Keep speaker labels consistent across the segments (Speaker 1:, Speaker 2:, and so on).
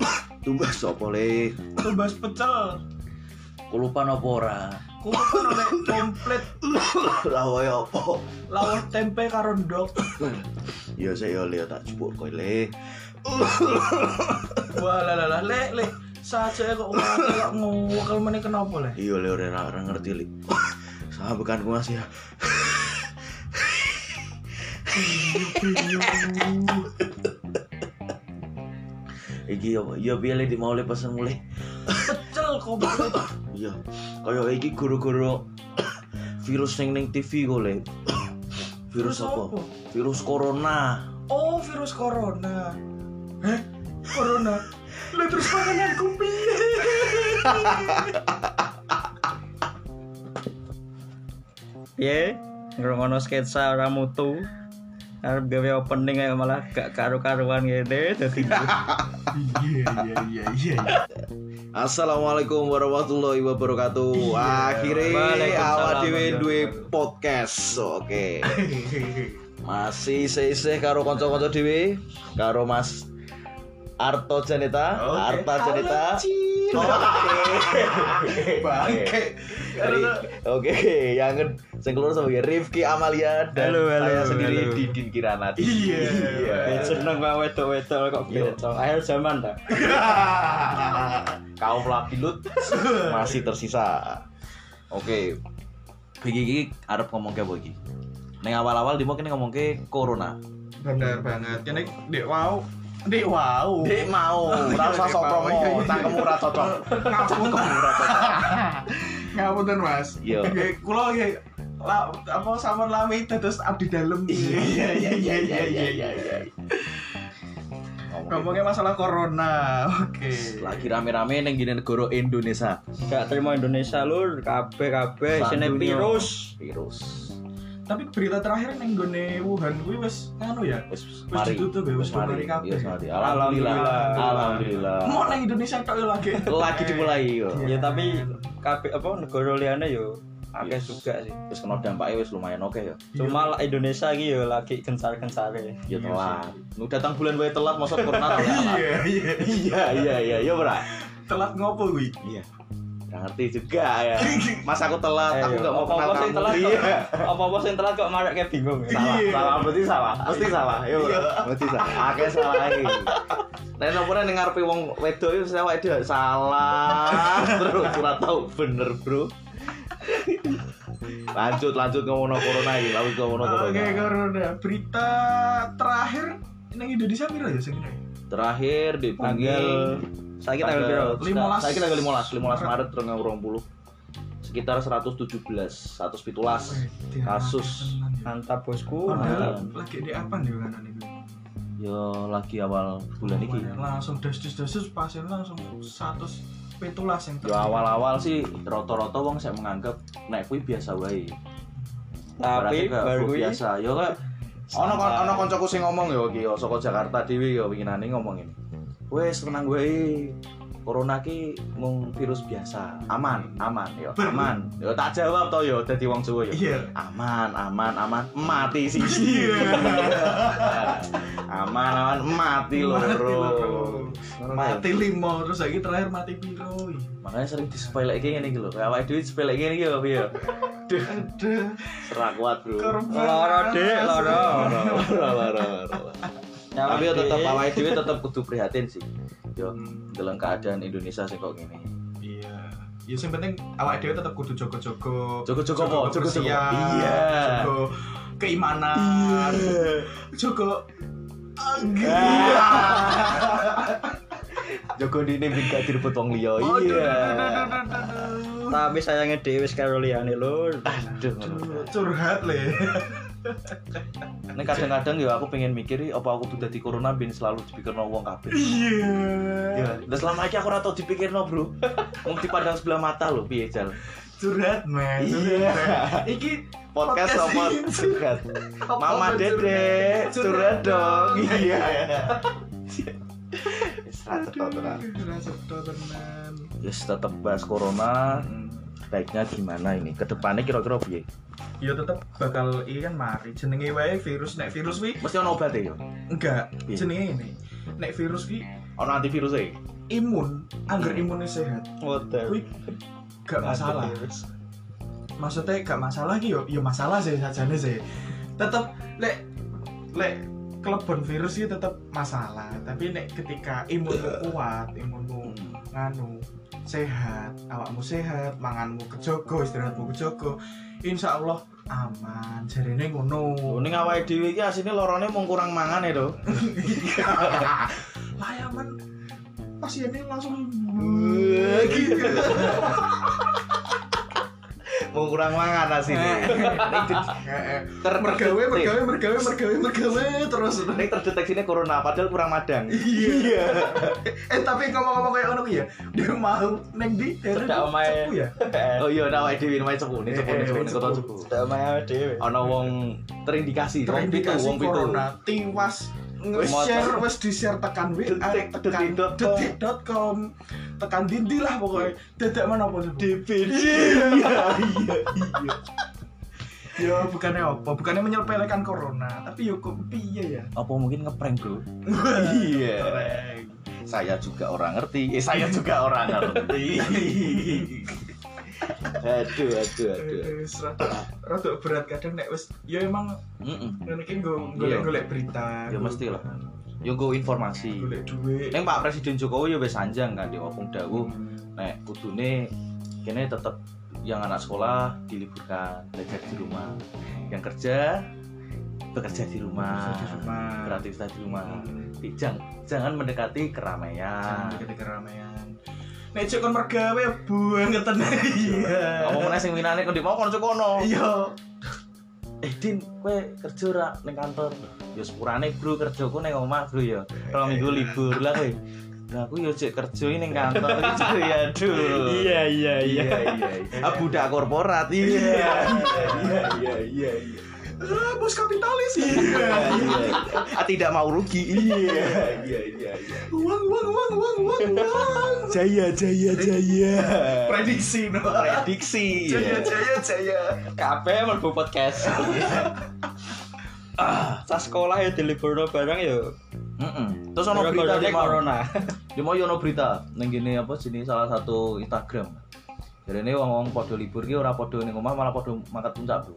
Speaker 1: bahas apa le?
Speaker 2: Tumbas pecel.
Speaker 1: Kulupan apa ora?
Speaker 2: Kumpul oleh komplit
Speaker 1: Lah wae apa?
Speaker 2: lawuh tempe karo ndok.
Speaker 1: Ya saya yo le tak jupuk kowe le.
Speaker 2: Wah lah lah lah lek lek. Saja kok ngomong kok ngokel meneh kenapa le?
Speaker 1: Iya le ora ora ngerti le. Sama bukan gua sih. Iki yo yo piye le di mau le pesen mulai.
Speaker 2: Pecel komplit.
Speaker 1: Iya. Kaya iki gara-gara virus ning ning TV kok le. Virus apa? Virus corona.
Speaker 2: Oh, virus corona. Eh, corona. Lah terus makananku piye?
Speaker 3: piye ngrungono sketsa ora mutu arep gawe opening ae malah gak karu-karuan ngene dadi
Speaker 2: Iya, iya, iya, iya.
Speaker 1: Assalamualaikum warahmatullahi wabarakatuh. Akhirnya
Speaker 3: Waalaikumsalam
Speaker 1: awak dhewe
Speaker 3: warahmatullahi
Speaker 1: duwe
Speaker 3: wabarakatuh.
Speaker 1: podcast. Oke. Masih isih-isih karo kanca-kanca dhewe karo Mas Arto Janeta,
Speaker 2: Oke.
Speaker 1: Arta Janeta. Oke.
Speaker 2: Bangke. Karena-
Speaker 1: Oke, yang ke- sing keluar sama Rifki Amalia dan
Speaker 3: Halo, halo,
Speaker 1: saya sendiri
Speaker 3: halo.
Speaker 1: Didin Kirana.
Speaker 2: Iya.
Speaker 1: Iya.
Speaker 3: seneng kok wedok-wedok kok beda akhir zaman ta
Speaker 1: Kaum lapilut masih tersisa. Oke. Iki iki arep ngomong ke apa iki? Ning awal-awal di mungkin ngomong ke corona.
Speaker 2: Bener banget. Ini dek wow. Dek wow.
Speaker 1: Dek mau, ora usah sok promo, cangkemmu ora cocok.
Speaker 2: Ngapun.
Speaker 1: Cangkemmu ora cocok.
Speaker 2: Ngapunten, Mas.
Speaker 1: Iya.
Speaker 2: Nggih, Kula ya la, apa sampun lami terus abdi dalem. Iya, iya, iya, iya, iya, iya, iya.
Speaker 1: Ngomong
Speaker 2: Ngomongnya masalah corona. Oke.
Speaker 1: ke- lagi rame-rame ning gini negara Indonesia.
Speaker 3: gak terima Indonesia lur kabeh
Speaker 2: Eh,
Speaker 3: kabeh
Speaker 1: Sak
Speaker 3: sene
Speaker 1: dunia.
Speaker 3: virus
Speaker 1: Virus.
Speaker 2: Tapi berita terakhir ning gone Wuhan kuwi wis anu ya.
Speaker 1: Wis
Speaker 2: Wis ditutup ya, wis mari kabeh.
Speaker 1: Iya, mari. Alhamdulillah. Alhamdulillah.
Speaker 2: Mau nang Indonesia tok ya Iya. lagi.
Speaker 1: Lagi dimulai yo.
Speaker 2: Iya.
Speaker 3: ya tapi kabeh apa negara liyane yo akeh juga sih
Speaker 1: Wis kena dampaknya wis lumayan oke ya.
Speaker 3: cuma lah Indonesia iki yo lagi gencar-gencare
Speaker 1: Ya
Speaker 2: Iya
Speaker 1: telat. Nu datang bulan wae telat masa corona telat.
Speaker 2: Iya, iya.
Speaker 1: Iya, iya, iya, iya, Bra.
Speaker 2: Telat ngopo kuwi?
Speaker 1: Iya. Nggak ngerti juga ya. Mas aku
Speaker 2: Eh,
Speaker 1: telat, aku nggak mau kenal
Speaker 3: apa Eh, sing
Speaker 1: kamu.
Speaker 3: telat kok
Speaker 1: Iya.
Speaker 3: apa sing telat kok marek kayak bingung ya?
Speaker 1: Salah,
Speaker 2: Iya.
Speaker 1: salah, mesti salah. Mesti salah.
Speaker 3: Iya.
Speaker 1: Yo, Bro. Mesti salah. Akeh salah iki. Nek nomornya ning ngarepe wong wedok itu saya awake dhewe salah. Terus ora tau bener, Bro. lanjut lanjut ngomong corona iki, lanjut ngomong corona.
Speaker 2: Oke, corona. Berita terakhir nang Indonesia piro ya sing kira?
Speaker 1: Terakhir di
Speaker 3: tanggal saiki tanggal piro
Speaker 2: Limolas.
Speaker 1: Saya tanggal 15, 15 Maret 2020. Sekitar 117,
Speaker 2: ya?
Speaker 1: 117. Kasus.
Speaker 3: mantap bosku mantap
Speaker 2: Padahal ya. Oh, lagi di apa nih kan ini?
Speaker 1: Yo lagi awal bulan iki.
Speaker 2: Langsung destus-destus pasien langsung satu petulas yang
Speaker 1: Yo awal-awal sih rata-rata wong saya menganggap nek kuwi biasa wae. Berarti
Speaker 3: tapi
Speaker 1: kayak
Speaker 3: baru
Speaker 1: flu
Speaker 3: kuwi
Speaker 1: biasa. Yo kok ono ono kancaku sing ngomong yo iki yo saka Jakarta dhewe yo winginane ngomong ini. Wes tenang wae. Corona ki mung virus biasa. Aman, aman yo. Aman. Yo tak jawab to yo dadi wong Jawa yo.
Speaker 2: Iya.
Speaker 1: Aman, aman, aman. Mati siji.
Speaker 2: Iya.
Speaker 1: aman, aman mati lho,
Speaker 2: Mati
Speaker 1: Bro. gitu.
Speaker 2: loro. Mati limo terus lagi terakhir mati piro. iya. wih.
Speaker 1: Makanya sering disepelekke ngene iki lho. Kayak awake dhewe disepelekke ngene iki lho, ya. piye. Duh,
Speaker 2: Aduh,
Speaker 1: serak kuat, Bro.
Speaker 2: korban.
Speaker 3: Loro, Dek, loro.
Speaker 1: Ora, ora, ora, ora.
Speaker 3: nyawa
Speaker 1: Tapi yo tetep
Speaker 3: dhewe.
Speaker 1: awake dhewe tetep kudu prihatin sih. Yo dalam keadaan Indonesia sih kok ngene.
Speaker 2: Iya. Ya sing penting awak dhewe tetep kudu jaga-jaga.
Speaker 1: Jogo-jogo apa? Jogo-jogo.
Speaker 2: kebersihan,
Speaker 1: Iya.
Speaker 2: Jaga keimanan. Jaga
Speaker 1: Iya. Jogo dine brigadir buat wong liya. Iya.
Speaker 2: Aduh.
Speaker 3: tapi sayangnya dhewe wis karo liyane lur
Speaker 1: Aduh.
Speaker 2: curhat le
Speaker 1: Ini kadang-kadang ya aku pengen mikir "Ih, apa aku udah di corona bin selalu dipikirno wong kabeh.
Speaker 2: iya
Speaker 1: Ya, dan selama ini aku ora tau dipikirno, Bro. Mung dipandang sebelah mata lho, piye, Jal?
Speaker 2: curhat men
Speaker 1: Iya.
Speaker 2: Curhat. iki
Speaker 1: Podcast sama
Speaker 2: ini
Speaker 1: curhat.
Speaker 2: apa apa
Speaker 1: Mama Dede,
Speaker 2: curhat?
Speaker 1: curhat dong. Iya. Istirahat
Speaker 2: Aduh,
Speaker 1: total.
Speaker 2: rasa tau, tenan.
Speaker 1: Yes, tetap bahas corona. Baiknya gimana ini? Kedepannya kira-kira piye?
Speaker 2: Ya tetep bakal iya kan mari jenenge wae virus nek virus wi
Speaker 1: Mesti ono obatnya ya?
Speaker 2: enggak
Speaker 1: Iya.
Speaker 2: jenenge ini nek virus wi
Speaker 1: Ono antivirus ya?
Speaker 2: imun
Speaker 1: Iya.
Speaker 2: anggar imunnya sehat
Speaker 3: Waduh.
Speaker 2: kuwi gak masalah maksudnya gak masalah ki yo yo masalah sih sajane sih tetep lek lek kelebon virus itu tetep masalah tapi nek ketika imunmu kuat imunmu
Speaker 1: Hmm.
Speaker 2: nganu sehat awakmu sehat manganmu kejogo istirahatmu kejogo insya Allah aman jarine ngono
Speaker 1: Ini ngawai dewi ya sini lorone mau kurang mangan ya tuh.
Speaker 2: layaman ya pasiennya langsung
Speaker 1: gitu. Mau kurang mangan asine.
Speaker 2: mergawe mergawe mergawe mergawe mergawe terus
Speaker 1: Ini terdeteksinya corona padahal kurang madang.
Speaker 2: iya eh tapi ngomong-ngomong kayak ngono ya dia mau neng di daerah
Speaker 3: Cedak
Speaker 2: itu
Speaker 3: omahe.
Speaker 2: cepu ya
Speaker 1: Oh iya nawai dewi namanya cepu, ini cepu, ini Eh, cepu, ini kota cepu.
Speaker 3: Tidak main dhewe.
Speaker 1: Ana wong terindikasi, wong pitu,
Speaker 2: terindikasi
Speaker 1: wong pitu.
Speaker 2: corona tiwas nge-share wes di-share tekan WA
Speaker 1: Detik,
Speaker 2: tekan
Speaker 1: detik.com.
Speaker 2: detik.com tekan dindi lah pokoknya dadak mana pun
Speaker 1: DPD. iya.
Speaker 2: ya bukannya apa bukannya menyepelekan corona tapi yo kok piye ya
Speaker 1: Apa mungkin ngeprank, Bro? Iya.
Speaker 2: Keren.
Speaker 1: Saya juga orang ngerti. Eh, saya juga orang ngerti. aduh, aduh, aduh.
Speaker 2: Eh, serata- rada berat kadang nek wes ya emang
Speaker 1: Mm-mm.
Speaker 2: mungkin
Speaker 1: Iya.
Speaker 2: golek-golek berita
Speaker 1: Ya, mesti lah. Yo go informasi.
Speaker 2: golek duit
Speaker 1: Neng Pak Presiden Jokowi ya wis sanjang kan di Opung Dawu. Nek kudune kene tetep yang anak sekolah diliburkan, belajar di rumah. Yang kerja bekerja di rumah.
Speaker 2: Bekerja di rumah. Nah,
Speaker 1: Beraktivitas di rumah. Ah. Jangan jangan mendekati keramaian.
Speaker 2: gede keramaian nek cek kon mergawe ya bangetan iya
Speaker 1: Apa meneh sing winane kon di mau kon kono.
Speaker 2: iya
Speaker 1: Eh Din, kowe kerja ora ning kantor? Ya sepurane bro kerjaku ning omah bro ya. Rong minggu libur lah kowe. Nah, aku yo cek kerja ini ning kantor iki ya aduh.
Speaker 3: iya
Speaker 1: iya iya ah budak korporat iya
Speaker 2: iya iya iya iya Ah, bos kapitalis iya
Speaker 1: ah tidak mau rugi iya iya iya
Speaker 2: uang uang uang uang uang uang
Speaker 1: jaya jaya jaya
Speaker 2: prediksi no
Speaker 1: prediksi
Speaker 2: jaya jaya jaya
Speaker 3: Kabeh mlebu podcast. Ah, tas sekolah ya diliburno barang ya.
Speaker 1: Mm-mm. terus ono berita
Speaker 3: Gara-gara
Speaker 1: di mau
Speaker 3: corona.
Speaker 1: di mau ono berita neng gini apa sini salah satu Instagram jadi ini wong wong podo libur ki ora podo ning omah malah podo mangkat puncak bro.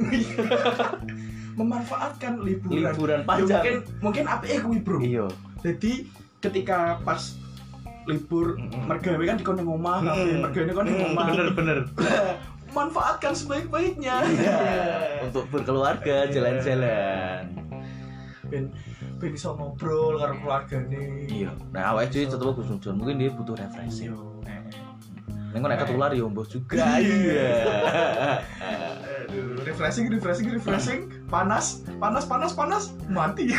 Speaker 2: memanfaatkan liburan
Speaker 1: Liburan
Speaker 2: Ya,
Speaker 1: panjang.
Speaker 2: mungkin mungkin apike kuwi bro
Speaker 1: iya
Speaker 2: jadi ketika pas libur
Speaker 1: Mm-mm.
Speaker 2: mergawe kan dikon ning omah
Speaker 1: Mm-mm.
Speaker 2: kafe mergawe dikon ning omah
Speaker 1: bener Iya.
Speaker 2: manfaatkan sebaik-baiknya
Speaker 1: untuk berkeluarga
Speaker 2: Iya.
Speaker 1: jalan-jalan
Speaker 2: ben ben iso ngobrol karo keluargane
Speaker 1: iya nah awake dhewe tetep Gus Nudon mungkin dia butuh refreshing
Speaker 2: Yo, eh,
Speaker 1: Neng nek ketular ya mbah juga.
Speaker 2: Iya. aduh, refreshing refreshing refreshing panas panas panas panas mati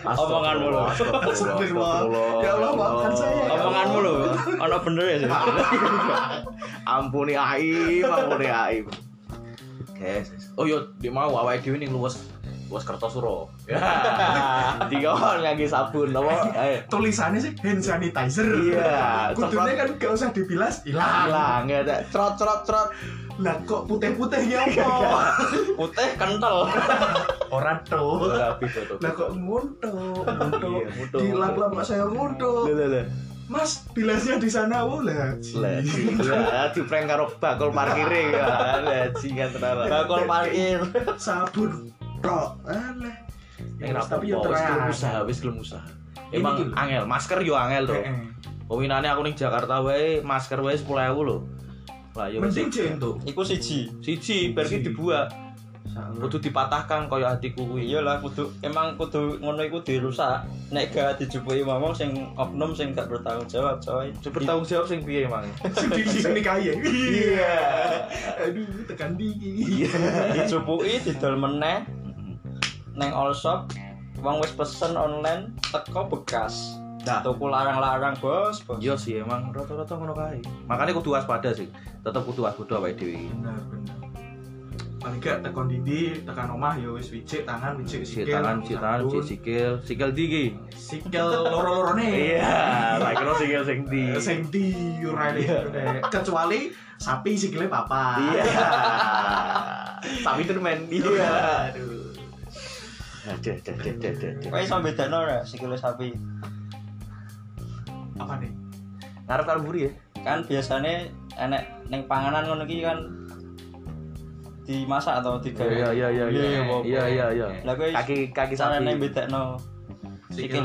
Speaker 3: Omonganmu lho.
Speaker 1: Astagfirullah.
Speaker 2: Ya Allah, maafkan saya.
Speaker 1: Ya Allah.
Speaker 3: Omonganmu lho, ana bener ya. Sil?
Speaker 1: Ampuni aib, ampuni aib. Guys, oh yo di mau awake dhewe ning luwes luwes Kertosuro. Ya. Dikon ngangge sabun apa? Eh,
Speaker 2: tulisannya sih hand sanitizer
Speaker 1: Iya,
Speaker 2: kudunya kan gak usah dibilas hilang
Speaker 1: hilang ya tak. cerot cerot cerot
Speaker 2: lah kok putih-putih ya
Speaker 1: Iya.
Speaker 2: apa
Speaker 3: Putih kental.
Speaker 2: orang tuh
Speaker 1: rapi foto
Speaker 2: lah kok nguntuk
Speaker 1: Iya, nguntuk. Iya.
Speaker 2: nguntuk dilap-lap kok saya nguntuk
Speaker 1: lele
Speaker 2: mas bilasnya di sana boleh
Speaker 1: Lah, gila, di ya. prank karo bakul parkire ya. Lah, jingan tenan.
Speaker 3: Bakul parkir.
Speaker 2: sabun tok alah
Speaker 1: Ning
Speaker 2: Ya,
Speaker 1: ra
Speaker 2: wis, tapi
Speaker 1: tapi
Speaker 2: yo
Speaker 1: yo wis gelem
Speaker 2: terang
Speaker 1: usaha, wis gelem usaha.
Speaker 2: Ini
Speaker 1: Emang
Speaker 2: gitu.
Speaker 1: angel, masker yo angel to.
Speaker 2: Heeh.
Speaker 1: Peminane aku ning Jakarta wae masker wae 10.000 lho. Lah yo
Speaker 2: mending jentuk
Speaker 3: Iku siji.
Speaker 1: siji bar ki
Speaker 2: Siji.
Speaker 1: dibuak, kudu dipatahkan koyo hatiku kuwi.
Speaker 3: Iya lah kudu emang kudu ngono iku dirusak. Nek gak dijupuki mamong sing oknum sing gak bertanggung jawab coy.
Speaker 1: Bertanggung jawab sing piye emang?
Speaker 2: sedih sini kaya iya aduh tekan
Speaker 1: Iya.
Speaker 2: dingin
Speaker 3: dijupuki didol meneh neng all shop wong wis pesen online teko bekas.
Speaker 1: Nah.
Speaker 3: Tuku larang-larang bos, bos.
Speaker 1: Iya sih emang rata-rata ngono kae. Makane kudu waspada sih. Tetep kudu waspada awake dhewe.
Speaker 2: benar benar paling gak tekan dindi tekan omah ya wis wijik tangan wijik
Speaker 1: Cuci
Speaker 2: sikil
Speaker 1: tangan, cuci tangan, cuci
Speaker 2: sabun.
Speaker 1: sikil, sikil di ki.
Speaker 2: sikil loro-lorone
Speaker 1: Iya, tak kira sikil sing di.
Speaker 2: Eh, sing di urine kecuali sapi sikile papa
Speaker 1: Iya. Tapi termen. Iya.
Speaker 2: aduh
Speaker 1: Ada, ada, ada, ada, ada.
Speaker 3: Kowe iso bedakno ora sikile sapi?
Speaker 2: apa nih
Speaker 1: Ngarep karo mburi ya.
Speaker 3: kan biasanya enek neng panganan ngono iki kan dimasak atau digawe
Speaker 1: Iya iya iya iya.
Speaker 3: Iya, apa-apa.
Speaker 1: Iya iya iya.
Speaker 3: Lah kuwi
Speaker 1: Kaki kaki
Speaker 3: carane
Speaker 1: sapi.
Speaker 3: bedakno sikil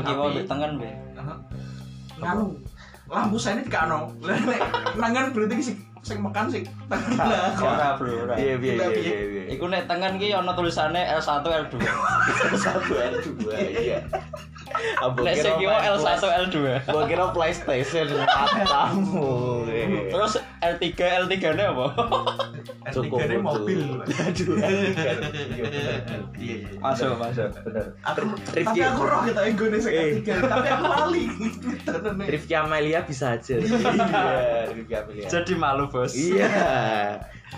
Speaker 2: Sikil
Speaker 3: kiwa
Speaker 2: sapi.
Speaker 3: mbek tengen be
Speaker 2: Aha. nganu lampu saya ini gak ono Lah, nek nangan berarti sing sing makan sing
Speaker 1: Nah,
Speaker 3: ora bro ora
Speaker 1: Iya iya iya iya. iya.
Speaker 3: iku nek tengen ki ana tulisane L1 L2
Speaker 1: satu L dua iya. Abang
Speaker 3: nek sing kiwa
Speaker 1: main
Speaker 3: L1
Speaker 1: Play-
Speaker 3: L2
Speaker 1: Gua kira PlayStation matamu.
Speaker 3: terus L3 L3 ne apa
Speaker 2: Cukup
Speaker 1: Cukup,
Speaker 2: ini
Speaker 1: betul.
Speaker 2: mobil
Speaker 1: Aduh. iya,
Speaker 2: iya iya
Speaker 3: masuk masuk
Speaker 1: Bener.
Speaker 2: aku tapi
Speaker 1: Rifki-
Speaker 2: aku roh kita ego nih sing
Speaker 1: Eh.
Speaker 2: ketiga tapi aku lali Tenan, nih.
Speaker 1: Rifki Amelia bisa aja. Iya, Rifki Amelia.
Speaker 3: jadi malu bos
Speaker 1: Iya.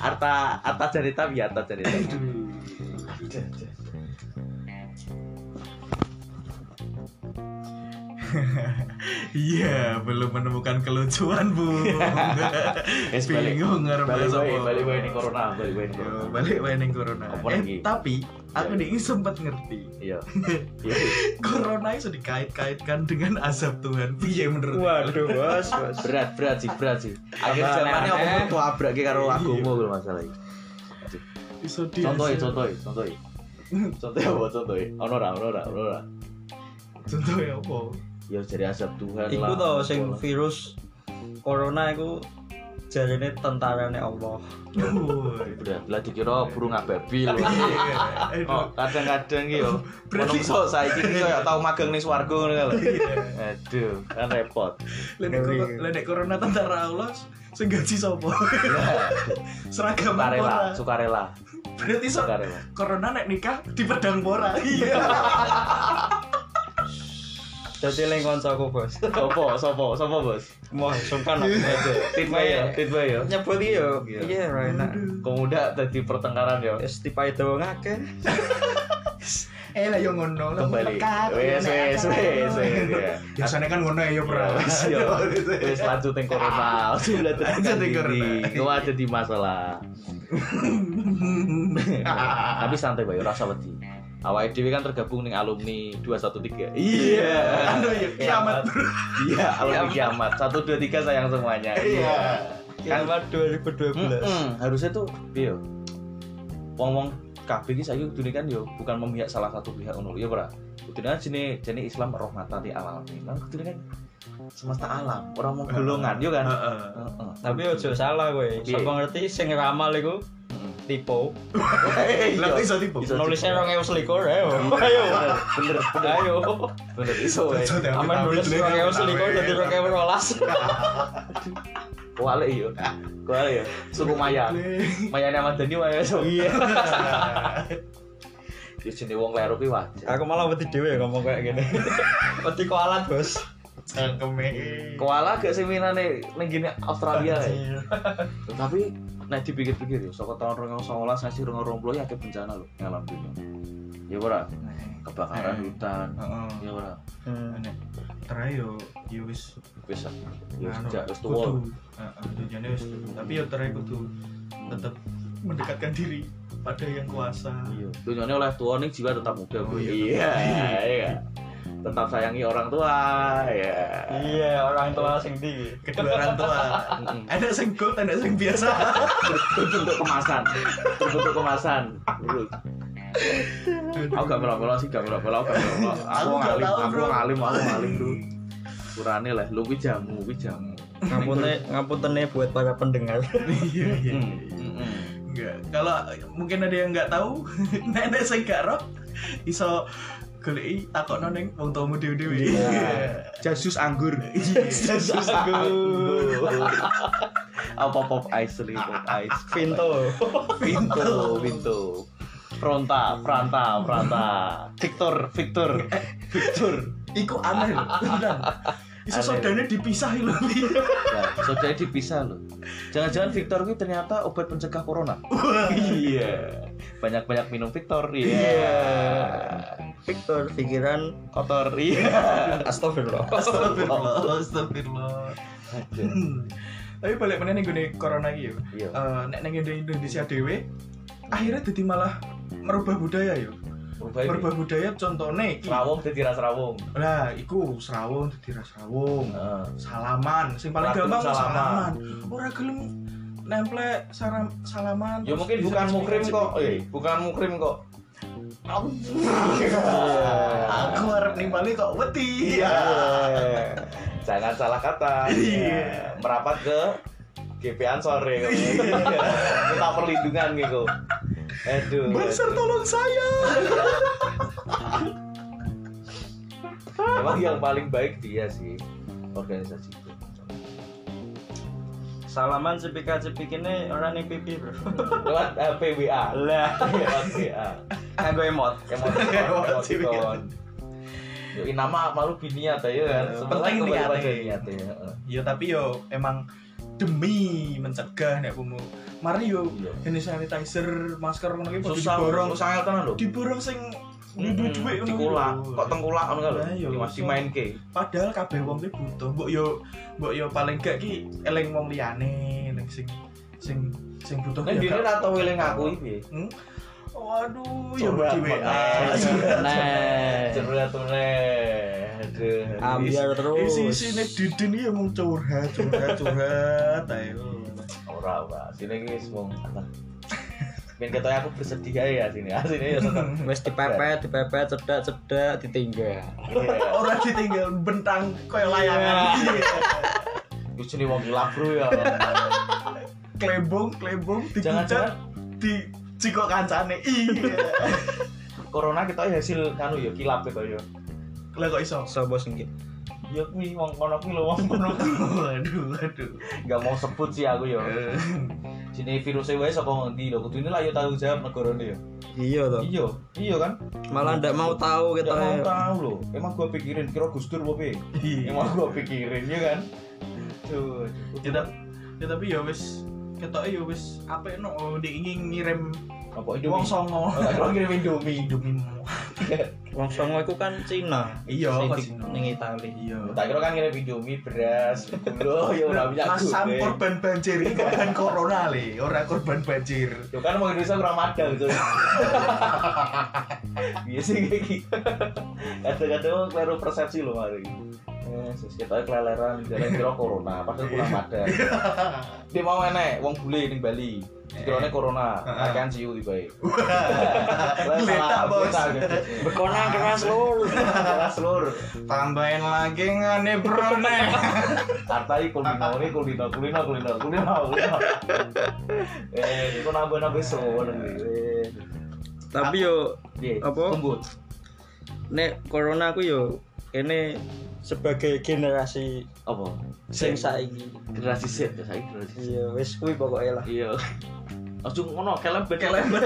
Speaker 1: Arta Arta Janita ya Arta Janita.
Speaker 2: Iya, belum menemukan kelucuan, Bu.
Speaker 1: Wes balik.
Speaker 2: Bingung ngarep
Speaker 1: Balik
Speaker 2: bahasa
Speaker 1: wae,
Speaker 2: apa.
Speaker 1: balik wae ning corona, balik wae ning corona.
Speaker 2: Yo, balik wae ning corona.
Speaker 1: Apa lagi?
Speaker 2: Eh, tapi aku nih sempat ngerti.
Speaker 1: Iya. Iya.
Speaker 2: Corona itu dikait-kaitkan dengan azab Tuhan. Piye menurut
Speaker 3: waduh bos bos
Speaker 1: Berat, berat sih, berat sih. Akhir
Speaker 3: Apa
Speaker 1: zamannya
Speaker 3: aneh?
Speaker 1: apa tuh abrak ki karo agama kuwi masalah iki.
Speaker 2: Iso di
Speaker 1: Contohi, contohi, contohi. Contohi apa contohi? Ono ora, ono ora, ono ora.
Speaker 2: Contoh ya apa?
Speaker 1: Ya jadi azab Tuhan
Speaker 3: iku
Speaker 1: lah.
Speaker 3: to sing virus corona iku jarene tentarane Allah
Speaker 2: Woi.
Speaker 1: berat lah dikira burung ababil.
Speaker 2: Iya, aduh.
Speaker 1: Oh, kadang-kadang ki yo.
Speaker 2: Berarti-
Speaker 1: Menungso saiki ki koyo tau magang ning swarga ngono lho. Aduh, kan repot.
Speaker 2: Lenek Iya. kor- lenek corona tentara Allah sing gaji sapa? Seragam
Speaker 1: Sukarela,
Speaker 2: pora.
Speaker 1: sukarela,
Speaker 2: Berarti so
Speaker 1: sukarela.
Speaker 2: corona nek nikah di pedang pora. Iya.
Speaker 3: jadi leng kancaku bos
Speaker 1: Sopo, sopo, sopo bos.
Speaker 3: mau sungkan aku aja
Speaker 1: Titbay ya, titbay ya.
Speaker 3: nyebut iki yo
Speaker 1: Iya.
Speaker 3: iya ora enak
Speaker 1: Kemuda tadi pertengkaran ya.
Speaker 3: wis tipai doang akeh
Speaker 2: Eh lah yo ngono lah.
Speaker 1: Kembali.
Speaker 2: melekat, yo, nek
Speaker 1: Wes, wes,
Speaker 2: acara
Speaker 1: wes,
Speaker 2: ngono.
Speaker 1: wes, ya.
Speaker 2: Biasanya kan ngono ya yo
Speaker 1: Ya,
Speaker 2: bro.
Speaker 1: wes, ya. Wes lanjut yang corona. Sudah
Speaker 2: Lanjut yang corona.
Speaker 1: Kau ada di masalah. Tapi santai bae, rasa wedi. Awake dhewe kan tergabung ning alumni 213. Iya.
Speaker 2: Anu ya kiamat bro.
Speaker 1: Iya, alumni kiamat. 123 sayang semuanya.
Speaker 2: Iya.
Speaker 1: Kan
Speaker 3: kiamat 2012
Speaker 1: Mm-mm. harusnya tuh iya wong-wong kabeh iki saiki kudune kan yo bukan memihak salah satu pihak ngono ya ora kudune kan jenenge jenenge Islam rahmatan lil alamin kan kudune kan semesta alam orang mau golongan yo kan
Speaker 2: Heeh.
Speaker 1: Heeh.
Speaker 3: tapi ojo salah kowe sapa ngerti sing ramal iku tipu
Speaker 2: Lah kok iso tipu.
Speaker 1: Iso.
Speaker 3: nulisnya 2021 ayo eh, oh. ayo
Speaker 1: bener bener
Speaker 3: ayo
Speaker 1: bener iya. iso wae
Speaker 3: eh.
Speaker 2: Contoh ya,
Speaker 3: aman nulis
Speaker 2: amit-amit,
Speaker 3: 2021 dadi 2012
Speaker 1: kuale yo kuale yo iya. suku maya
Speaker 2: Iya.
Speaker 1: mayane Ahmad Dhani wae iso iya yo jenenge wong kleru ki wajar
Speaker 3: aku malah wedi dhewe ya ngomong kayak gini wedi kualat bos
Speaker 2: Cangkeme.
Speaker 1: koala gak sing minane ning gini Australia ya
Speaker 2: Iya.
Speaker 1: Loh, tapi nek dipikir-pikir yo saka tahun 2019 ngasih 2020 ya akeh bencana lho ngalam dunia. Ya ora
Speaker 2: Eh.
Speaker 1: kebakaran hutan.
Speaker 2: Heeh.
Speaker 1: Ya ora
Speaker 3: Hmm.
Speaker 2: Nek terakhir yo yo wis
Speaker 1: wis ya
Speaker 2: anu,
Speaker 1: sejak wis Hmm.
Speaker 2: kudu.
Speaker 1: tuwa.
Speaker 2: Heeh, tujuannya wis tuwa. Tapi yo terakhir kudu tetap mendekatkan diri pada yang kuasa.
Speaker 1: Iya. Dunyane oleh tuwa ning jiwa tetap muda.
Speaker 2: Oh,
Speaker 1: Bu.
Speaker 2: iya.
Speaker 1: iya. Iya. Tetap sayangi orang tua. Iya.
Speaker 3: iya orang tua sing di
Speaker 2: Kedua orang tua.
Speaker 1: Mm-mm.
Speaker 2: Ada sing gold, ada sing biasa.
Speaker 1: Berbentuk kemasan. Berbentuk kemasan. Iya. Aku gak melo-melo sih, gak melo-melo, gak melo-melo. Aku
Speaker 2: Aku gak
Speaker 1: ngalim,
Speaker 2: tahu,
Speaker 1: aku
Speaker 2: Bro.
Speaker 1: ngalim, aku ngalim dulu. Kurane lah, lu kuwi jamu, kuwi jamu.
Speaker 3: ngapunten ngapunten buat para pendengar
Speaker 2: Iya iya.
Speaker 1: Hmm.
Speaker 2: iya.
Speaker 1: Mm-mm.
Speaker 2: Enggak. Kalau mungkin ada yang nggak tahu, nenek sing gak roh iso goleki takokno ning wong tuamu dhewe-dhewe.
Speaker 1: Iya. Jasus anggur.
Speaker 2: Yesus
Speaker 1: Apa pop ice li pop ice.
Speaker 3: Vinto
Speaker 1: Pintu, pintu. Pronta, Pranta, Pranta. Victor, Victor, Victor.
Speaker 2: Iku aneh loh. Beneran. Iso
Speaker 1: Aneh.
Speaker 2: sodane dipisah lho.
Speaker 1: Ya, saudaranya dipisah loh. Jangan-jangan Victor ini ternyata obat pencegah corona. Iya. Banyak-banyak minum Victor. Iya.
Speaker 3: Victor pikiran
Speaker 1: Kotor. Iya.
Speaker 3: astagfirullah
Speaker 2: Astagfirullah, astagfirullah. Hmm. Tapi balik meneh ning gone corona iki yo.
Speaker 1: Iya.
Speaker 2: Eh, nek nang Indo- Indonesia dhewe akhirnya jadi malah merubah budaya yo. Berubah budaya contohnya iki.
Speaker 1: Serawung dadi ra serawung.
Speaker 2: Nah, iku Serawung dadi Serawung.
Speaker 1: Heeh.
Speaker 2: Salaman, sing paling
Speaker 1: Ora gelem
Speaker 2: gampang salaman.
Speaker 1: salaman.
Speaker 2: salaman. Ora gelem nemplek saram, salaman.
Speaker 1: Ya
Speaker 2: terus
Speaker 1: mungkin
Speaker 2: bisa
Speaker 1: bukan mukrim
Speaker 2: cepet-cepet.
Speaker 1: kok. Eh, bukan mukrim kok.
Speaker 2: Aku harap nimbali kok wedi.
Speaker 1: Iya. Jangan salah kata. Ya,
Speaker 2: Iya.
Speaker 1: Merapat ke GPAN sore. ya. Minta perlindungan gitu. Aduh.
Speaker 2: Banser tolong saya.
Speaker 1: Emang yang paling baik dia sih organisasi itu.
Speaker 3: Salaman cepika-cepik ini orang nih pipi bro.
Speaker 1: Lewat eh, PWA.
Speaker 3: Lah,
Speaker 1: Lewat PWA.
Speaker 3: kan gue emot.
Speaker 1: Emoticon. Emoticon. Yo, ini nama malu biniat ya kan.
Speaker 2: Eh,
Speaker 1: Sebenarnya
Speaker 2: penting
Speaker 1: kembali
Speaker 2: niatnya.
Speaker 1: pada niatnya. heeh.
Speaker 2: Ya tapi yo emang demi mencegah nek kamu. Mari yo
Speaker 1: Iya.
Speaker 2: hand sanitizer, masker ngono ki podo
Speaker 1: Susah
Speaker 2: diborong.
Speaker 1: susah ngel tenan lho.
Speaker 2: Diborong sing nduwe duit ngono
Speaker 1: dikulak,
Speaker 2: lho.
Speaker 1: kok tengkulak ngono kan,
Speaker 2: Lah, iya,
Speaker 1: lho. Masih
Speaker 2: iso.
Speaker 1: main ke.
Speaker 2: Padahal kabeh wong ki butuh. Mbok yo mbok yo paling gak ki eling wong liyane, eling sing sing sing butuh
Speaker 1: Nek
Speaker 2: ya
Speaker 1: dhewe
Speaker 2: gak-
Speaker 1: ra tau eling aku iki piye.
Speaker 2: Hmm? Waduh, Ah, ya
Speaker 1: Curhat
Speaker 2: di
Speaker 1: meneh.
Speaker 2: WA.
Speaker 3: Nah,
Speaker 1: Curhat meneh. ya, Aduh.
Speaker 3: ambiar terus.
Speaker 2: Isi isi nih Didin ya mau curhat, curhat, curhat, ayo.
Speaker 1: Ora ora. Sini iki wis mung apa? Ben ketoknya aku bersedih aja ya sini. Ah, sini ya seneng.
Speaker 3: Wes dipepet, dipepet, cedak, cedak, ditinggal.
Speaker 1: Iya.
Speaker 2: Orang ditinggal bentang kayak layangan. Iya.
Speaker 1: Iku jenenge wong gelap bro ya.
Speaker 2: Klebong, klebong, dikucat,
Speaker 1: Jangan-jangan
Speaker 2: di cikok kancane. Iya.
Speaker 1: corona kita hasil kanu ya kilap kita ya.
Speaker 2: Lah kok iso?
Speaker 3: So bos nggih.
Speaker 1: Ya kuwi wong kono kuwi lho wong kono.
Speaker 2: Waduh, waduh.
Speaker 1: Gak mau sebut sih aku ya.
Speaker 2: Eh,
Speaker 1: Jenenge virusnya wae saka ngendi lho. Kudune lah yo tanggung jawab negarane ya.
Speaker 3: Iya toh.
Speaker 1: Iya, iya kan?
Speaker 3: Malah ndak mau tahu
Speaker 1: Gak
Speaker 3: kita.
Speaker 1: mau tahu loh. Emang gua pikirin kira Gus Dur apa piye?
Speaker 2: Iya.
Speaker 1: Emang gua pikirin ya kan? Tuh.
Speaker 2: Ya, tap- ya tapi ya wis ketok ya wis apa no dia ingin ngirim
Speaker 1: Apa
Speaker 2: wong
Speaker 1: Indomie?
Speaker 2: songo.
Speaker 1: Kalau ngirim Indomie.
Speaker 2: Indomie.
Speaker 3: Wong Songo iku kan Cina.
Speaker 2: Iya,
Speaker 3: Sing
Speaker 2: kok
Speaker 3: di-
Speaker 2: Cina.
Speaker 3: Ning Itali.
Speaker 2: Iya.
Speaker 1: Tak kira kan ngirim Indomie beras,
Speaker 2: Oh,
Speaker 1: gula ya ora bisa
Speaker 2: Mas Sam korban banjir ini korban corona le, orang korban banjir.
Speaker 1: Yo kan mau Indonesia kurang madal gitu. Biasa kayak gitu. Kadang-kadang orang keliru persepsi loh hari ini. Yesus, kita keleleran jalan kira corona, padahal kurang madal. Dia mau enek, wong bule ning Bali. Dikirane corona,
Speaker 2: Heeh.
Speaker 1: akan siu tiba
Speaker 2: Geletak, Bos.
Speaker 3: Berkonang keras lur.
Speaker 1: Keras lur.
Speaker 2: Tambahin lagi nggak nih bro nih?
Speaker 1: Artai kulino ini kulino kulino kulino kulino kulino. Eh, kok nambah-nambah sono iki.
Speaker 3: Tapi yo
Speaker 1: eh. Piye?
Speaker 3: Apa?
Speaker 1: Tunggu.
Speaker 3: nek corona aku yo ini sebagai generasi
Speaker 1: Apa?
Speaker 3: sing saiki.
Speaker 1: generasi Z ya, saya generasi Z.
Speaker 3: Iya, wis kuwi pokoke lah.
Speaker 1: Iya. Ojo ngono, kelebet kelebet.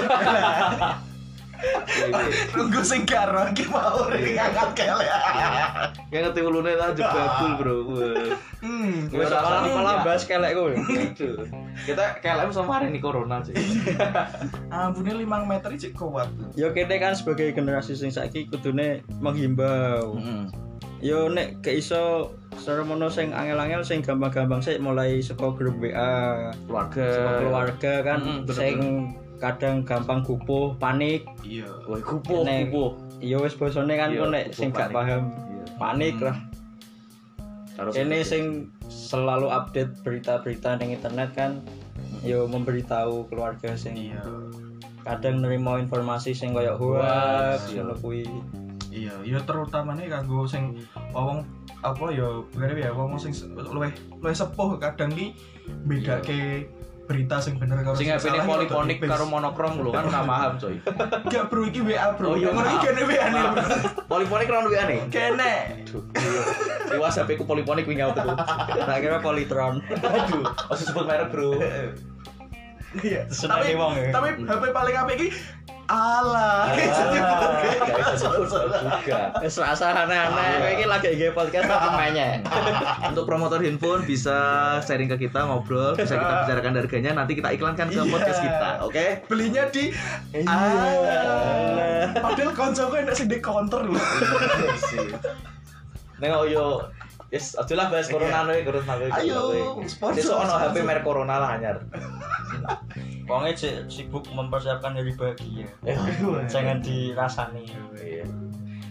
Speaker 2: Nunggu sing karo lagi mau nih ngangkat kele.
Speaker 1: Yang ngerti ulune ta jebabul, Bro. Wah.
Speaker 2: Hmm.
Speaker 1: Wis
Speaker 3: Wis
Speaker 1: ora
Speaker 3: malah malah
Speaker 1: malah
Speaker 3: bahas kelek kowe.
Speaker 1: Aduh. Kita KLM sama hari ini corona sih.
Speaker 2: Ambune limang meter cek kuat.
Speaker 3: Yo kene kan sebagai generasi sing saiki kudune menghimbau.
Speaker 1: Hmm.
Speaker 3: Yo nek gak iso seremono sing angel-angel sing gampang-gampang sik mulai saka grup WA,
Speaker 1: Keluarga.
Speaker 3: saka keluarga kan
Speaker 1: Mm, Eh, bener-bener.
Speaker 3: sing kadang gampang gupuh, panik.
Speaker 2: Iya.
Speaker 1: Wah, kupo
Speaker 3: Nek-
Speaker 1: kupo.
Speaker 3: Yo wis bosone kan
Speaker 1: Iya,
Speaker 3: ku nek sing
Speaker 1: gupuh,
Speaker 3: gak paham
Speaker 1: Iya.
Speaker 3: panik
Speaker 2: Hmm.
Speaker 3: lah. Ini sing selalu update berita-berita ning internet kan yo memberitahu keluarga sing
Speaker 2: Iya.
Speaker 3: kadang nerima informasi sing koyo
Speaker 1: Hoax,
Speaker 3: hoax
Speaker 1: iya.
Speaker 3: ngono kuwi.
Speaker 2: Iya. Iya terutamanya kanggo sing wong apa ya bener ya wong sing luweh luweh sepuh kadang ki bedake berita sing bener karo
Speaker 1: sing
Speaker 2: salah ki
Speaker 1: ngapene
Speaker 2: rada
Speaker 1: poliponik
Speaker 2: tipis.
Speaker 1: karo monokrom lho kan ora paham coy.
Speaker 2: Gak bro, iki WA bro.
Speaker 1: Oh, iya,
Speaker 2: Ngono iki
Speaker 1: maaf.
Speaker 2: kene WA nih bro.
Speaker 1: Poliponik karo duwe aneh.
Speaker 2: Kene.
Speaker 1: Aduh. Di WhatsApp ku poliponik wingi aku.
Speaker 3: Tak kira politron.
Speaker 1: Aduh, ojo sebut merek, Bro.
Speaker 2: Iya.
Speaker 3: Seneng
Speaker 2: Tapi
Speaker 3: nih, wong, ya.
Speaker 1: Hmm.
Speaker 2: tapi HP paling apik iki ala.
Speaker 3: Wis rasa aneh-aneh
Speaker 1: Ah.
Speaker 3: kowe iki lagi nge podcast apa mainnya?
Speaker 1: Untuk promotor handphone bisa sharing ke kita ngobrol, bisa kita bicarakan harganya nanti kita iklankan ke
Speaker 2: Iya.
Speaker 1: podcast kita, oke?
Speaker 2: Belinya di Iya.
Speaker 3: Ala.
Speaker 2: ala. Padahal koncoku enak sing di counter lho.
Speaker 1: Nengok yo Yes, aja lah bahas corona noe, corona noe.
Speaker 2: Ayo, sponsor,
Speaker 1: Sesuk ono HP
Speaker 2: sponsor.
Speaker 1: merek corona lah anyar.
Speaker 3: Wongnya si- sibuk mempersiapkan diri bahagia.
Speaker 1: Eh,
Speaker 3: Jangan dirasani.
Speaker 1: Iya.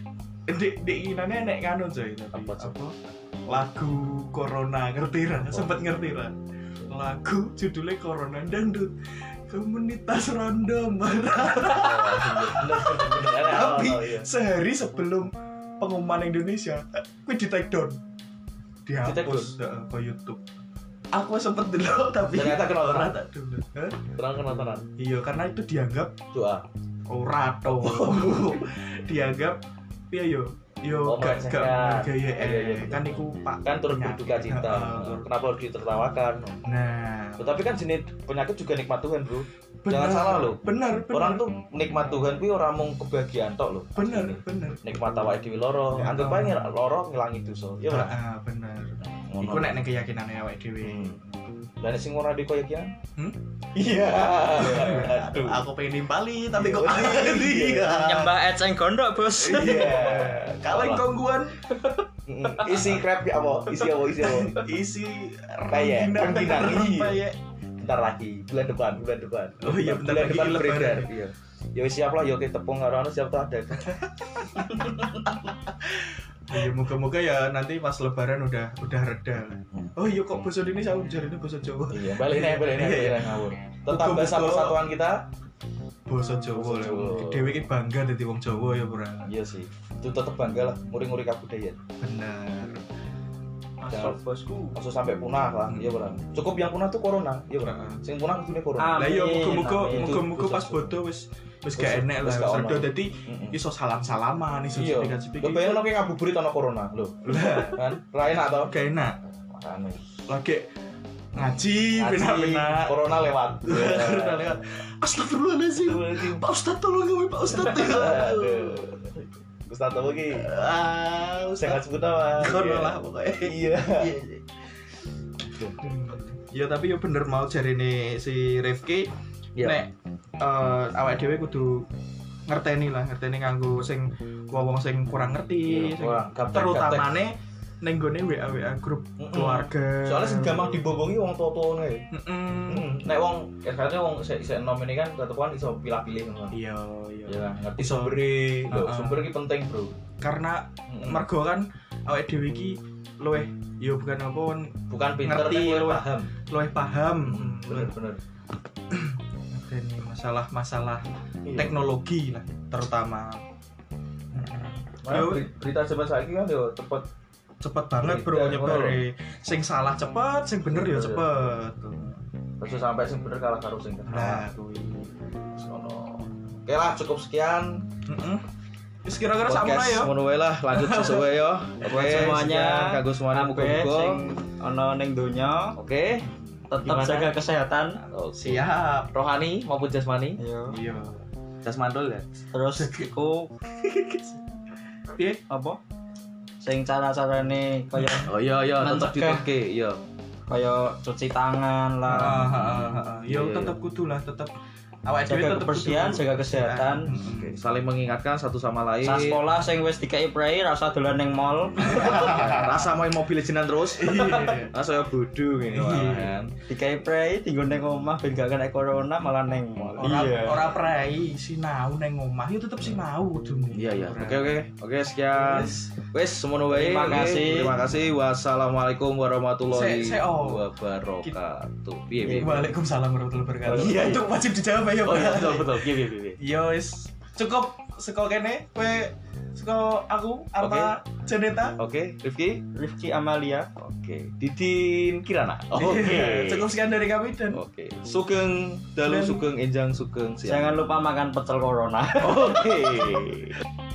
Speaker 2: di di kan, inane nek kanu coy tapi
Speaker 1: Apa,
Speaker 2: apa,
Speaker 1: coy?
Speaker 2: lagu corona ngerti ra sempet ngerti ra lagu judulnya corona dangdut komunitas rondo marah tapi
Speaker 1: Ya, iya.
Speaker 2: sehari sebelum pengumuman Indonesia aku di take down
Speaker 1: Di-take down?
Speaker 2: dihapus heeh, ke YouTube aku sempet dulu tapi
Speaker 1: Ternyata kena orang.
Speaker 2: ora tak download. Hah?
Speaker 1: Terang kena tenan.
Speaker 2: iya karena itu dianggap
Speaker 1: Doa.
Speaker 2: ora to dianggap piye yo
Speaker 1: Oh,
Speaker 2: yo gak gak
Speaker 1: melecehkan.
Speaker 2: menghargai, eh.
Speaker 1: Iya, iya, iya.
Speaker 2: kan iku pak
Speaker 1: Kan turut
Speaker 2: penyakit.
Speaker 1: berduka cita.
Speaker 2: Heeh, turut-
Speaker 1: Kenapa harus ditertawakan?
Speaker 2: nah
Speaker 1: Tetapi kan jenis penyakit juga nikmat Tuhan, Bro.
Speaker 2: bener,
Speaker 1: Jangan salah loh.
Speaker 2: bener bener
Speaker 1: Orang tuh nikmat Tuhan kuwi ora mung kebahagiaan tok lho.
Speaker 2: bener bener
Speaker 1: Nikmat awake dhewe loro,
Speaker 2: Ya,
Speaker 1: anggap
Speaker 2: tau.
Speaker 1: ae ngel- loro ngilangi dosa. Iya ora?
Speaker 2: Heeh, bener
Speaker 1: Ngono.
Speaker 2: Nah, iku nek nek keyakinane awake dhewe
Speaker 1: Hmm. Lah nek sing ora dikoyakian?
Speaker 2: Hmm?
Speaker 1: ah? Iya. Aduh.
Speaker 2: aku pengen nimpali tapi kok Iya.
Speaker 3: Nyembah eceng gondok, Bos.
Speaker 1: Iya.
Speaker 2: kaleng kongguan
Speaker 1: Mm, Isi crab ya apa? Isi apa? Isi apa?
Speaker 2: isi
Speaker 1: Kayak rengginang, iya.
Speaker 2: kayak
Speaker 1: Bentar lagi, bulan depan, bulan depan.
Speaker 2: Oh iya, bentar
Speaker 1: bulan
Speaker 2: lagi
Speaker 1: depan
Speaker 2: lebaran.
Speaker 1: beredar. Iya. Ya wis siap lah, ya oke tepung karo anu siap tuh ada.
Speaker 2: Ya, moga-moga ya nanti pas lebaran udah udah reda.
Speaker 1: Hmm.
Speaker 2: Oh iya kok bahasa Indonesia aku jarine bahasa Jawa.
Speaker 1: Iya, balik nih, balik nih,
Speaker 2: Iya.
Speaker 1: balik nih ngawur. Tetap
Speaker 2: Buka-buka.
Speaker 1: bahasa persatuan kita.
Speaker 2: Bahasa Jawa.
Speaker 1: Basa Jawa.
Speaker 2: Dewe iki bangga dadi wong Jawa ya, Bro.
Speaker 1: Iya sih. Itu tetap bangga lah, nguri-nguri kabudayaan.
Speaker 2: Bener.
Speaker 3: Masuk bosku.
Speaker 1: Langsung sampai punah lah, iya benar. Cukup yang punah tuh corona, iya benar.
Speaker 2: Heeh.
Speaker 1: Sing punah kudune corona.
Speaker 3: Ah.
Speaker 2: Lah
Speaker 3: Amin,
Speaker 2: iya moga-moga
Speaker 3: amin.
Speaker 2: moga-moga
Speaker 1: Itu
Speaker 2: pas
Speaker 1: bahasa
Speaker 2: bodo wis wis gak enek lah
Speaker 1: Wis
Speaker 2: wis
Speaker 1: gak
Speaker 2: reda
Speaker 1: ono.
Speaker 2: dadi
Speaker 1: Mm-mm.
Speaker 2: iso salam-salaman, iso
Speaker 1: Iya. Lo
Speaker 2: cepikan-cepikan.
Speaker 1: bayangin lo kayak ngabuburit ono corona, lo
Speaker 2: Lah
Speaker 1: kan? Ra enak tau?
Speaker 2: gak enak.
Speaker 1: Makane.
Speaker 2: Lagi ngaji,
Speaker 1: Ngaji, Iya.
Speaker 2: benar-benar.
Speaker 1: corona lewat.
Speaker 2: Udah lewat. Astagfirullahaladzim. Pak Ustadz tolong kami Pak Ustadz.
Speaker 1: Aduh. Ustaz apa ki?
Speaker 2: Ah,
Speaker 1: Saya nggak
Speaker 2: Ustadz.
Speaker 1: sebut nama.
Speaker 2: Kono
Speaker 1: Iya.
Speaker 2: lah pokoknya.
Speaker 1: Iya.
Speaker 2: Ya tapi ya bener mau jarine si Rifki
Speaker 1: Iya.
Speaker 2: nek eh awake dhewe kudu ngerteni lah, ngerteni nganggo sing wong sing kurang ngerti, sing
Speaker 1: Iya. Wah, gaptek, gaptek.
Speaker 2: terutamane ning gone WA WA grup
Speaker 1: Mm-mm.
Speaker 2: keluarga.
Speaker 1: Soalnya sing gampang dibobongi wong tua-tua nih.
Speaker 2: Heeh.
Speaker 1: Nek wong ya katanya wong sik sik enom ini kan tetep kan iso pilih-pilih ngono.
Speaker 2: Iya, iya.
Speaker 1: Ya kan, ngerti
Speaker 2: Iso.
Speaker 1: sumbere. Lho, Mm.
Speaker 2: Heeh.
Speaker 1: sumber iki penting, Bro.
Speaker 2: Karena
Speaker 1: Mm-mm.
Speaker 2: mergo kan awake dhewe iki luweh ya bukan apa
Speaker 1: Bukan pinter
Speaker 2: ngerti,
Speaker 1: tapi
Speaker 2: luwe.
Speaker 1: iya, paham.
Speaker 2: luweh paham
Speaker 1: Bener bener.
Speaker 2: ngerteni masalah-masalah
Speaker 1: Iya.
Speaker 2: teknologi lah terutama
Speaker 1: Malah
Speaker 2: Yo.
Speaker 1: beri- berita zaman saiki kan yo cepet
Speaker 2: cepet banget bro
Speaker 1: Iya,
Speaker 2: nyebare sing salah cepet sing bener ya cepet
Speaker 1: terus sampai sing bener kalah karo sing
Speaker 2: nah
Speaker 1: kalah.
Speaker 2: kuwi
Speaker 1: Terus ono. Oke lah cukup sekian
Speaker 2: heeh wis kira-kira sama
Speaker 1: podcast
Speaker 2: ya
Speaker 1: ngono wae lah lanjut sesuai yo oke
Speaker 3: semuanya.
Speaker 1: sekian, kanggo semuanya
Speaker 3: Kabeh
Speaker 1: muga-muga
Speaker 3: sing ono ning donya
Speaker 1: oke
Speaker 3: tetap
Speaker 1: Gimana?
Speaker 3: jaga kesehatan.
Speaker 2: siap
Speaker 1: rohani maupun jasmani
Speaker 3: Iya.
Speaker 2: iya
Speaker 1: jasmandul ya
Speaker 3: Terus iku
Speaker 2: piye
Speaker 3: apa? Sing cara-carane kaya
Speaker 1: oh iya iya tetap
Speaker 3: Mencegah.
Speaker 1: dituke iya
Speaker 3: kaya cuci tangan lah.
Speaker 2: Ah, ah, ah, ah, ah. ya
Speaker 1: Iya, iya.
Speaker 2: tetep kudu lah tetep awake dhewe
Speaker 3: Jaga
Speaker 2: tetep kudu.
Speaker 3: kebersihan,
Speaker 2: Ah,
Speaker 3: jaga kesehatan.
Speaker 1: Oke, saling mengingatkan satu sama lain
Speaker 3: Sa sekolah sing wis dikei prei rasa dolan ning mall,
Speaker 1: rasa main mobil jenan terus
Speaker 2: Iya.
Speaker 1: rasa ya bodoh ini
Speaker 2: Iya.
Speaker 1: kan
Speaker 3: dikei prei tinggal ning omah ben gak kena corona malah ning mall.
Speaker 2: ora ora prei sinau neng omah ya tetep sinau kudune
Speaker 1: Iya. iya iya
Speaker 2: Ora.
Speaker 1: oke oke oke sekian
Speaker 2: Wis.
Speaker 1: wes semono wae
Speaker 3: Terima
Speaker 1: oke.
Speaker 3: kasih.
Speaker 1: terima kasih wassalamualaikum warahmatullahi
Speaker 2: Se- se- oh. Iya,
Speaker 1: wabarakatuh piye piye
Speaker 2: Waalaikumsalam warahmatullahi wabarakatuh.
Speaker 1: Iya, iya.
Speaker 2: itu wajib dijawab ya, Pak.
Speaker 1: oh iya betul betul piye piye piye
Speaker 2: Yo wis cukup seko kene kowe seko aku Arta Janeta.
Speaker 1: Oke, Rifki.
Speaker 3: Rifki Amalia.
Speaker 1: Oke, Didin Kirana. Oh, Oke.
Speaker 2: Iya,
Speaker 1: Oh.
Speaker 2: cukup sekian dari kami dan
Speaker 1: Oke. Sugeng, dalu
Speaker 2: Dan-
Speaker 1: sugeng enjang sugeng siap.
Speaker 3: Jangan lupa makan pecel corona.
Speaker 1: Oke.